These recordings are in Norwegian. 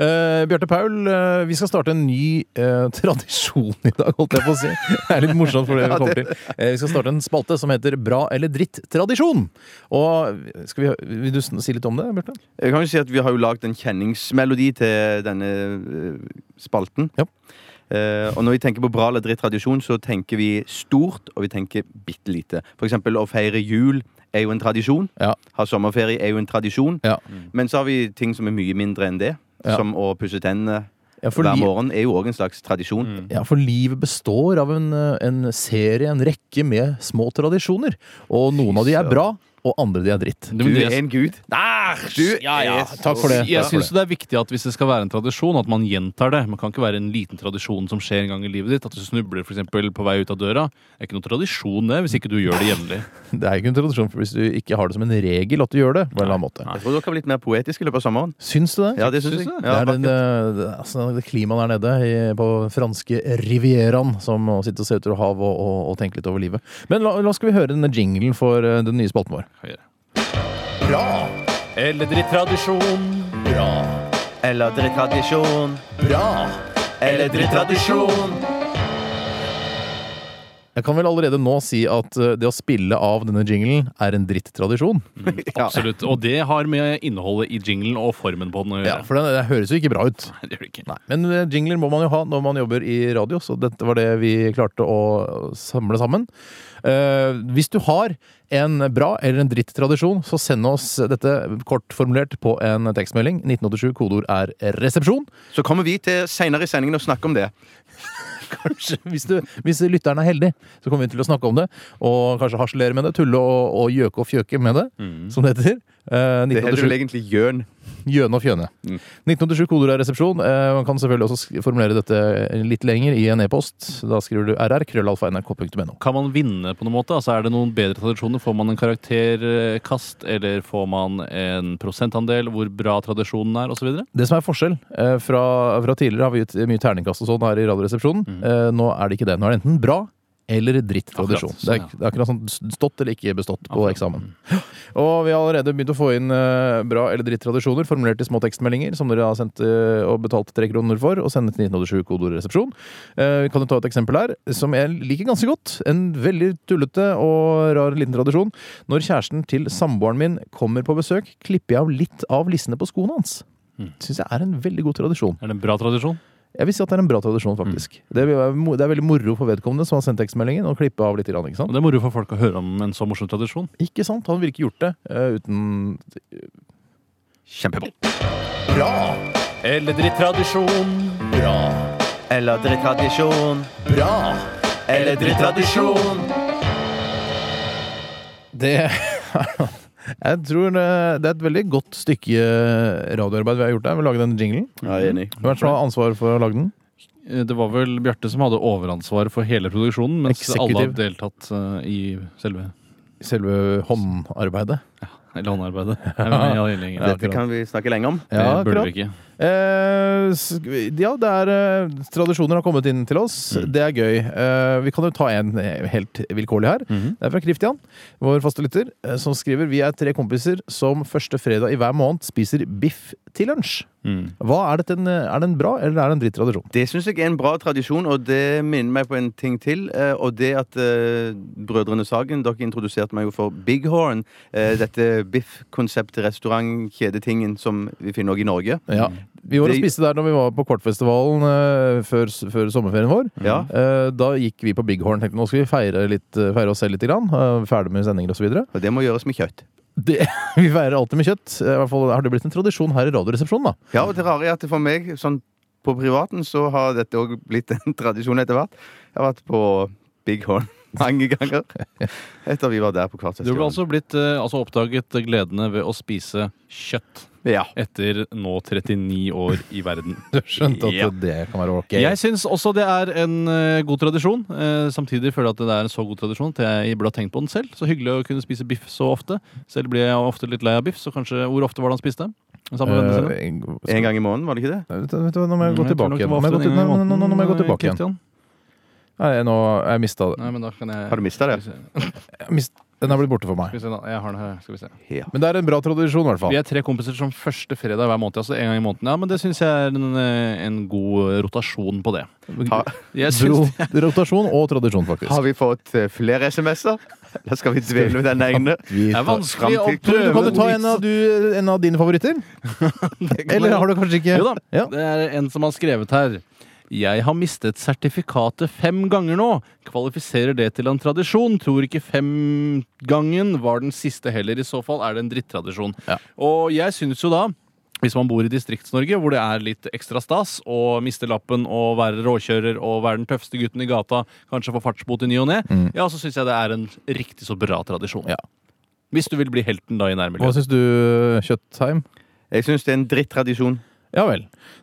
Eh, Bjarte Paul, eh, vi skal starte en ny eh, tradisjon i dag, holdt jeg på å si. Det er litt morsomt for det vi kommer til. Eh, vi skal starte en spalte som heter Bra eller dritt-tradisjon. Og skal vi, Vil du sn- si litt om det, Bjarte? Jeg kan jo si at Vi har jo lagd en kjenningsmelodi til denne eh, spalten. Ja. Eh, og når vi tenker på bra eller dritt tradisjon, så tenker vi stort, og vi tenker bitte lite. For eksempel å feire jul er jo en tradisjon. Ja. Ha sommerferie er jo en tradisjon. Ja. Men så har vi ting som er mye mindre enn det. Ja. Som å pusse tennene Ja, for, hver li morgen er jo òg en slags tradisjon. ja, for livet består av en, eh, en serie, en rekke med små tradisjoner. Og noen av de er bra, og andre de er dritt. Du er en gud. Æsj! Ja, jeg- Takk for det. Jeg Takk for syns det er viktig at hvis det skal være en tradisjon, at man gjentar det. Man kan ikke være en liten tradisjon som skjer en gang i livet ditt. At du snubler for eksempel, på vei ut av døra. Det er ikke noe tradisjon, det, hvis ikke du gjør det jevnlig. Det er jo ikke en tradisjon for hvis du ikke har det som en regel at du gjør det. på en eller annen måte. Jeg tror dere har blitt mer poetiske i løpet av sommeren. Syns du det? Ja, det syns jeg. Syns Det du? Ja, er den, eh, altså, det klimaet der nede i, på franske rivieraen som å sitte og se utover havet og, og, og tenke litt over livet. Men la, la oss skal vi høre denne jinglen for eh, den nye spalten vår. Høyere. Bra! Eller drittradisjon. Bra! Eller dritt tradisjon. Bra! Eller dritt tradisjon. Jeg kan vel allerede nå si at eh, det å spille av denne jinglen er en dritt-tradisjon. Ja. Absolutt. Og det har med innholdet i jinglen og formen på den å Ja, gjøre. for den, det høres jo ikke bra ut. Nei, det gjør det ikke. Nei, Men eh, jingler må man jo ha når man jobber i radio, så dette var det vi klarte å samle sammen. Eh, hvis du har en bra eller en dritt-tradisjon, så send oss dette kort formulert på en tekstmelding. 1987, kodeord er 'resepsjon'. Så kommer vi til seinere i sendingen og snakker om det. Kanskje, hvis, du, hvis lytteren er heldig, så kommer vi til å snakke om det. Og kanskje harselere med det, tulle og, og gjøke og fjøke med det, som det heter. Eh, Det heter 1987. vel egentlig gjøn. Gjøne og fjøne. 1987 koder er resepsjon. Eh, Man kan selvfølgelig også sk- formulere dette litt lenger i en e-post. Da skriver du rr, krøllalfa, nrk.no. Kan man vinne på noen måte? Altså, er det noen bedre tradisjoner? Får man en karakterkast, eller får man en prosentandel? Hvor bra tradisjonen er, osv.? Det som er forskjell eh, fra, fra tidligere, har vi gitt mye terningkast og sånn her i Radioresepsjonen. Eh, Nå er det ikke det. Nå er det enten bra eller dritt-tradisjon. Mm. Det, er Akkurat, sånn, ja. ikke- det er akkurat sånn bestått eller ikke bestått på eksamen. Og vi har allerede begynt å få inn eh, bra eller dritt-tradisjoner formulert i små tekstmeldinger, som dere har sendt eh, og betalt tre kroner for, og sendt til 1987 kodeord resepsjon. Eh, Vi kan jo ta et eksempel her, som jeg liker ganske godt. En veldig tullete og rar liten tradisjon. Når kjæresten til samboeren min kommer på besøk, klipper jeg av litt av lissene på skoene hans syns jeg er en veldig god tradisjon. Er det en bra tradisjon? Jeg vil si at det er en bra tradisjon, faktisk. Det, vil være mo- det er veldig moro for vedkommende som har sendt tekstmeldingen, å klippe av litt. Grann, ikke, Og sant? det er moro for folk å høre om en så morsom tradisjon. ikke sant? Han virker gjort det eh, uten Kjempebra. Bra! Eller drittradisjon. Bra! Eller dritt tradisjon. Bra! Eller dritt tradisjon. Det Jeg tror det det er et veldig godt stykke eh, radioarbeid vi har gjort der, med å lage den jinglen. Ja, jeg er enig. Hvem er det som har ansvar for å lage den? Eh, Det var vel Bjarte som hadde overansvaret for hele produksjonen, mens alle har Eksekutiv. deltatt eh, i selve Selve håndarbeidet. eller håndarbeidet. Jeg mener, ja, hele gjengen. Dette kan vi snakke lenge om. det Ja, burde akkurat. vi ikke. Eh, s- ja, det er eh, Tradisjoner har kommet inn til oss. Mm. Det er gøy. Eh, vi kan jo ta en eh, helt vilkårlig her. Mm-hmm. Det er fra Kristian, vår faste lytter, eh, som skriver Vi er tre kompiser som første fredag i hver måned spiser biff til lunsj. Mm. Hva Er dette en, eh, er det en bra eller er det en dritt tradisjon? Det syns jeg er en bra tradisjon, og det minner meg på en ting til. eh, Og det at eh, Brødrene Sagen Dere introduserte meg jo for Big Horn. eh, Dette biff-konsept-restaurant-kjedetingen som vi finner også i Norge. Ja. Vi var og Det- spiste der når vi var på Kortfestivalen eh, før, s- før sommerferien vår. Ja. Eh, da gikk vi på Bighorn. tenkte Nå skal vi feire, litt, eh, feire oss selv litt. Grann. eh, ferdig med sendinger osv. Og det må gjøres med kjøtt. Det, vi feirer alltid med kjøtt. I hvert fall har det blitt en tradisjon her i Radioresepsjonen. da. Ja, og det rare er at for meg, sånn på privaten, så har dette òg blitt en tradisjon etter hvert. Jeg har vært på Big Horn mange ganger etter vi var der på Du ble kvartfestivalen. altså, blitt, eh, altså oppdaget gledene ved å spise kjøtt Ja. etter nå 39 år i verden. Du har skjønt at Ja. det kan være ok. Jeg syns også det er en eh, god tradisjon. Eh, samtidig føler jeg at det er en så god tradisjon at jeg burde ha tenkt på den selv. Så hyggelig å kunne spise biff så ofte. Selv blir jeg ofte litt lei av biff, så kanskje Hvor ofte var det han spiste? Sammen med vennene sine? Eh, en- En gang i måneden, var det ikke det? Vet du- vet du hva, Nå må jeg gå Mm, jeg tror tilbake igjen. nok Nå det var må jeg gå oftere til- enn i nå- nå- nå må jeg gå måneden, tilbake igjen. Christian. Nei, nå har jeg mista det. Nei, men da kan jeg Har du mista det? Skal vi se. Jeg mist- Den er blitt borte for meg. Skal vi se, da. Jeg har den her. Skal vi se. Ja. Men det er en bra tradisjon, i hvert Vi fall. er tre kompiser som første fredag hver måned. Altså en gang i måneden. Ja, men det syns jeg er en, eh, en god rotasjon på det. Ha, Jeg Bro, syns rotasjon og tradisjon, faktisk. har vi fått eh, flere SMS-er? Eller skal vi dvele ved den ene? det er vanskelig å Tore, Fram til- du prøve. kan jo ta en av, du, en av dine favoritter. Eller har du kanskje ikke Jo da. Ja. Det er en som har skrevet her. Jeg har mistet sertifikatet fem ganger nå. Kvalifiserer det til en tradisjon? Tror ikke femgangen var den siste heller. I så fall er det en drittradisjon. Ja. Og jeg syns jo da hvis man bor i Distrikts-Norge, hvor det er litt ekstra stas å miste lappen og være råkjører og være den tøffeste gutten i gata, kanskje få fartsbot i ny og ne, ja, så syns jeg det er en riktig så bra tradisjon. Mm. Ja. Hvis du vil bli helten da i Hva nærmiljøet. syns du, Kjøttheim? Jeg syns det er en drittradisjon. Ja vel.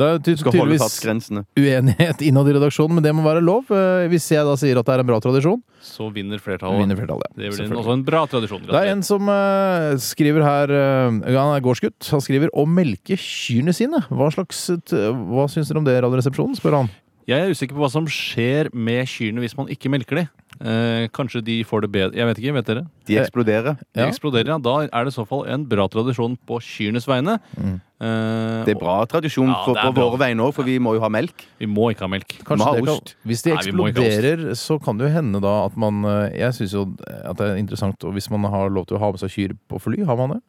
Det er ty Skal holde tydeligvis fartsgrensene. uenighet innad i redaksjonen, men det må være lov. Eh, Hvis jeg da sier at det er en bra tradisjon, Så vinner flertallet. vinner flertallet. Det blir en- Selvfølgelig. også en bra tradisjon. Det er en som eh, skriver her eh, Han er gårdsgutt. Han skriver 'Å melke kyrne sine'. Hva slags t Hva syns dere om det, Radioresepsjonen? spør han. Jeg er usikker på hva som skjer med kyrne hvis man ikke melker de. Eh, kanskje de får det bedre Jeg vet ikke, vet dere? De eksploderer. De Ja. eksploderer, ja. Da er det i så fall en bra tradisjon på kyrnes vegne. Eh, Det er bra tradisjon Ja, for, det er på bra. våre vegne òg, for vi må jo ha melk. Vi må ikke ha melk. Kanskje Må ha det kan, ost. hvis de Nei, vi må ikke ha ost. eksploderer, så kan det jo hende da at man eh, Jeg syns jo at det er interessant, og hvis man har lov til å ha med seg kyr på fly, har man det?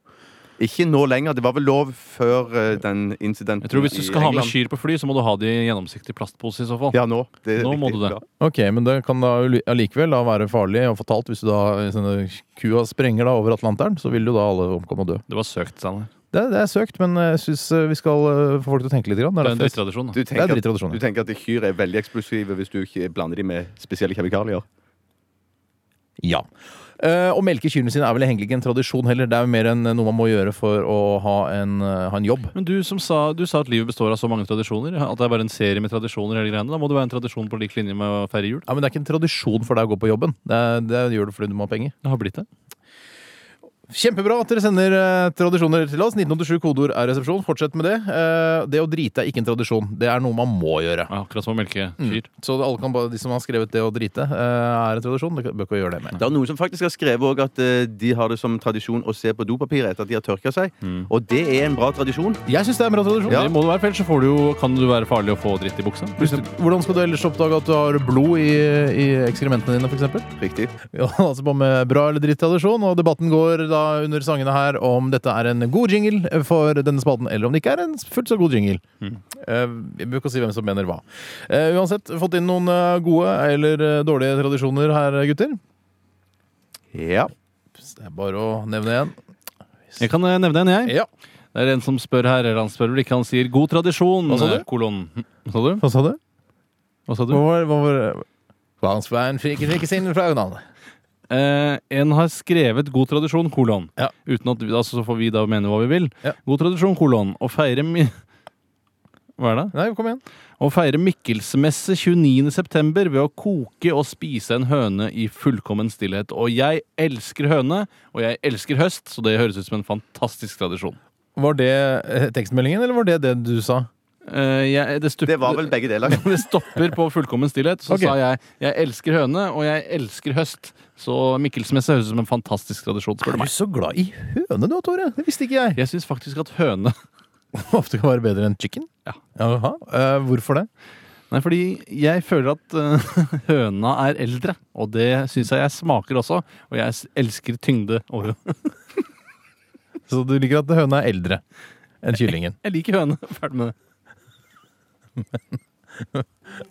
Ikke nå lenger. Det var vel lov før eh, den incidenten Jeg tror Hvis du i skal ha med England. kyr på fly, så må du ha det i en gjennomsiktig plastpose. i så fall Ja, nå. Det er Nå må riktig. du det. Ja. Ok, men det kan da li- allikevel da være farlig og fatalt hvis du da hvis denne kua sprenger da over Atlanteren, så vil jo da alle omkomme og dø. Det var søkt, Sander. Det, det er søkt, men jeg syns vi skal eh, få folk til å tenke litt. Grann. Det er derfor en jeg- drittradisjon. Du da. Det er tenker, at- drittradisjon, ja. du tenker at kyr er veldig eksplosive hvis du ikke blander de med spesielle kjemikalier? Ja. Eh, å melke kyrne sine er vel egentlig ikke en tradisjon heller. Det er jo mer enn eh, noe man må gjøre for å ha en, eh, ha en jobb. Men du som sa, du sa at livet består av så mange tradisjoner. At det er bare en serie med tradisjoner. hele greiene Da må det være en tradisjon på lik linje med å feire jul. Ja, Men det er ikke en tradisjon for deg å gå på jobben. Det, er, det gjør du fordi du må ha penger. Det har blitt det. Kjempebra at dere sender eh, tradisjoner til oss. 1987 kodeord er resepsjon. Fortsett med det. Eh, det å drite er ikke en tradisjon. Det er noe man må gjøre. Ja, Akkurat som å melke kyr. Så alle kan bare, de som har skrevet 'det å drite' eh, er en tradisjon. Dere bør ikke gjøre det mer. Det er noen som faktisk har skrevet også at eh, de har det som tradisjon å se på dopapiret etter at de har tørka seg. Mm. Og det er en bra tradisjon. Jeg syns det er en bra tradisjon. Det må det være, for ellers så får du jo, kan det være farlig å få dritt i buksa. Hvis du- Hvordan skal du ellers oppdage at du har blod i, i ekskrementene dine, f.eks.? Riktig. Ja, altså på med bra eller dritt tradisjon, og debatten går da under sangene her om dette er en god jingle for denne spalten, eller om det ikke er en fullt så god jingle. Eh, Vi bruker å si hvem som mener hva. Eh, uansett, fått inn noen eh, gode eller eh, dårlige tradisjoner her, gutter. Ja. Det er bare å nevne én. Jeg kan eh, nevne en, jeg. Ja. Det er en som spør her, eller han spør vel ikke, han sier 'god tradisjon', Hva sa du? eh, kolon. Hva sa Hva sa du? du? Hva sa du? Hva var, hva var Vansvein fikk ikke sin fra Unnan. Eh, en har skrevet 'god tradisjon', kolon. Ja. Uten at, altså, så får vi da mene hva vi vil. Ja. God tradisjon, kolon. Å feire mi... Hva er det? Nei, kom igjen. Å feire Mikkelsmesse 29.9. ved å koke og spise en høne i fullkommen stillhet. Og jeg elsker høne, og jeg elsker høst, så det høres ut som en fantastisk tradisjon. Var det eh, tekstmeldingen, eller var det det du sa? Eh, jeg, det, stup, Det var vel begge deler. Det stopper på fullkommen stillhet. Så Ok. sa jeg 'jeg elsker høne, og jeg elsker høst'. Så Mikkelsmesse høres ut som en fantastisk tradisjon. spør Er du du meg. så glad i høne du, Tore? Det visste ikke jeg. Jeg syns faktisk at høne Ofte kan være bedre enn chicken? Ja. Jaha. Eh, hvorfor det? Nei, fordi jeg føler at eh, høna er eldre, og det syns jeg jeg smaker også. Og jeg s- elsker tyngde. Og hø- Så du liker at høna er eldre enn kyllingen. jeg liker høne. Ferdig med det.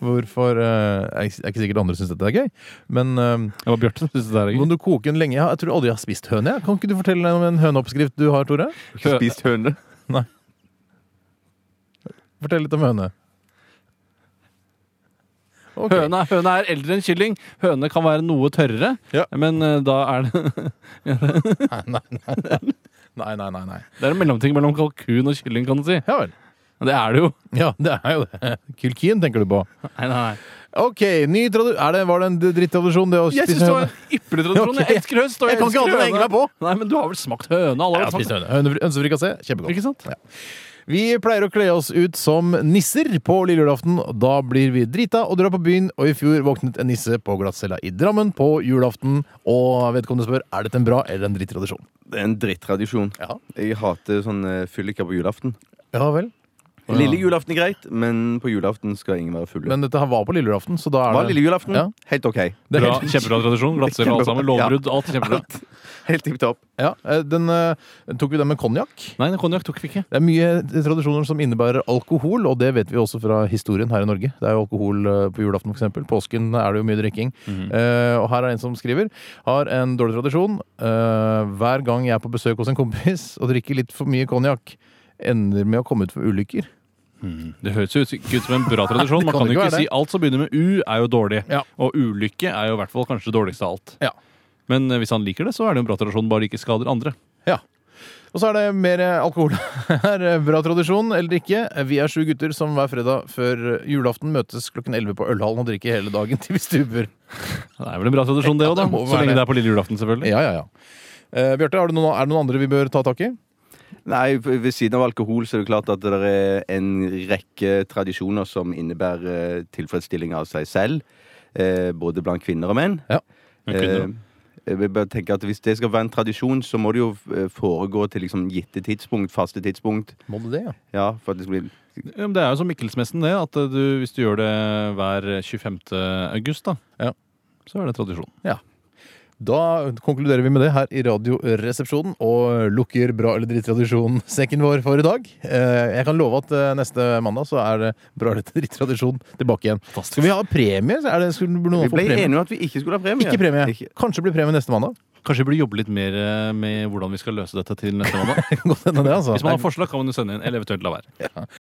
Hvorfor eh, er ikke- er ikke sikkert andre syns dette er gøy, men eh, Det var Bjarte som syntes det der. må Egil. du koke den lenge? Jeg har- Jeg tror aldri jeg har spist høne. jeg. Kan ikke du fortelle om en høneoppskrift du har, Tore? Ikke spist høne. Fortell litt om høne. Ok. Høna, høna er eldre enn kylling. Høne kan være noe tørrere, Ja. men eh, da er det Nei, nei, nei. Nei, nei, nei. nei. Det er en mellomting mellom kalkun og kylling, kan du si. Ja vel. Det er det jo. Ja, det er jo det. Kulkin tenker du på. Nei, nei, nei. Ok, ny tradisjon er det, Var det en drittradisjon, det å Jeg spise synes det var høne? en ypperlig tradisjon. Ok. Jeg elsker høst, og jeg, Jeg kan ikke elsker annet enn å henge meg på. Nei, men du har vel smakt høne? Jeg Alle har har vel spist smakt høne. Hønefri- Hønsefrikassé. Kjempegodt. Ikke sant? Ja. Vi pleier å kle oss ut som nisser på lille julaften. Da blir vi drita og drar på byen, og i fjor våknet en nisse på glattcella i Drammen på julaften. Og vedkommende spør er dette en bra eller en dritt tradisjon. Det er en drittradisjon. Ja. Jeg hater sånn, sånne fylliker på julaften. ja vel. Lille julaften er greit, men på julaften skal ingen være fulle. Men dette her var på lille julaften, så da er Var det lille julaften Ja. helt ok. det er Bra, helt- kjempebra tradisjon. Glattcelle, alt sammen. Ja. Lovbrudd, alt er kjempebra. Alt. Helt tipp topp. Ja, eh, den, eh, tok vi den med konjakk? Nei, konjakk tok vi ikke. Det er mye tradisjoner som innebærer alkohol, og det vet vi også fra historien her i Norge. Det er jo alkohol eh, på julaften, f.eks. Påsken er det jo mye drikking. Eh, og her er en som skriver har en dårlig tradisjon. Eh, hver gang jeg er på besøk hos en kompis og drikker litt for mye konjakk, ender med å komme ut for ulykker. Mm. Det høres jo ut ut som en bra tradisjon. Man kan kan ikke jo ikke være si det. alt som begynner med U, er jo dårlig. Ja. Og ulykke er jo i hvert fall kanskje det dårligste av alt. Ja. Men eh, hvis han liker det, så er det jo en bra tradisjon, bare det ikke skader andre. Og så er det mer eh, alkohol her. eh, Bra tradisjon eller ikke. Vi er sju gutter som hver fredag før eh, julaften møtes klokken 11 på Ølhallen og drikker hele dagen til vi stuper. Det er vel en bra tradisjon, det òg, da. det må Så være det. lenge det er på lille julaften, selvfølgelig. Ja, ja, ja. Eh, Bjarte, har du noen, er det noen andre vi bør ta tak i? Nei, v- ved siden av alkohol så er det klart at det er en rekke tradisjoner som innebærer eh, tilfredsstilling av seg selv. eh, Både blant kvinner og menn. Men kvinner, da. Eh, Jeg vil bare tenke at Hvis det skal være en tradisjon, så må det jo eh, foregå til liksom gitte tidspunkt. Faste tidspunkt. Må du det, ja? Ja, for at det skal bli Ja, men det er jo som Mikkelsmessen, det. At eh, du, hvis du gjør det hver 25. august, da, Ja. så er det tradisjon. Da konkluderer vi med det her i Radioresepsjonen og lukker bra eller dritt-tradisjon-sekken vår for i dag. Eh, Jeg kan love at eh, neste mandag så er det bra eller dritt-tradisjon tilbake igjen. Skal vi ha premie? Er det, skulle, burde Vi noen få ble premie? enige om at vi ikke skulle ha premie. Ikke premie. Ikke- Kanskje det blir premie neste mandag. Kanskje vi burde jobbe litt mer eh, med hvordan vi skal løse dette til neste mandag. Godt hende det, altså. Hvis man har forslag, kan man jo sende inn, eller eventuelt la være.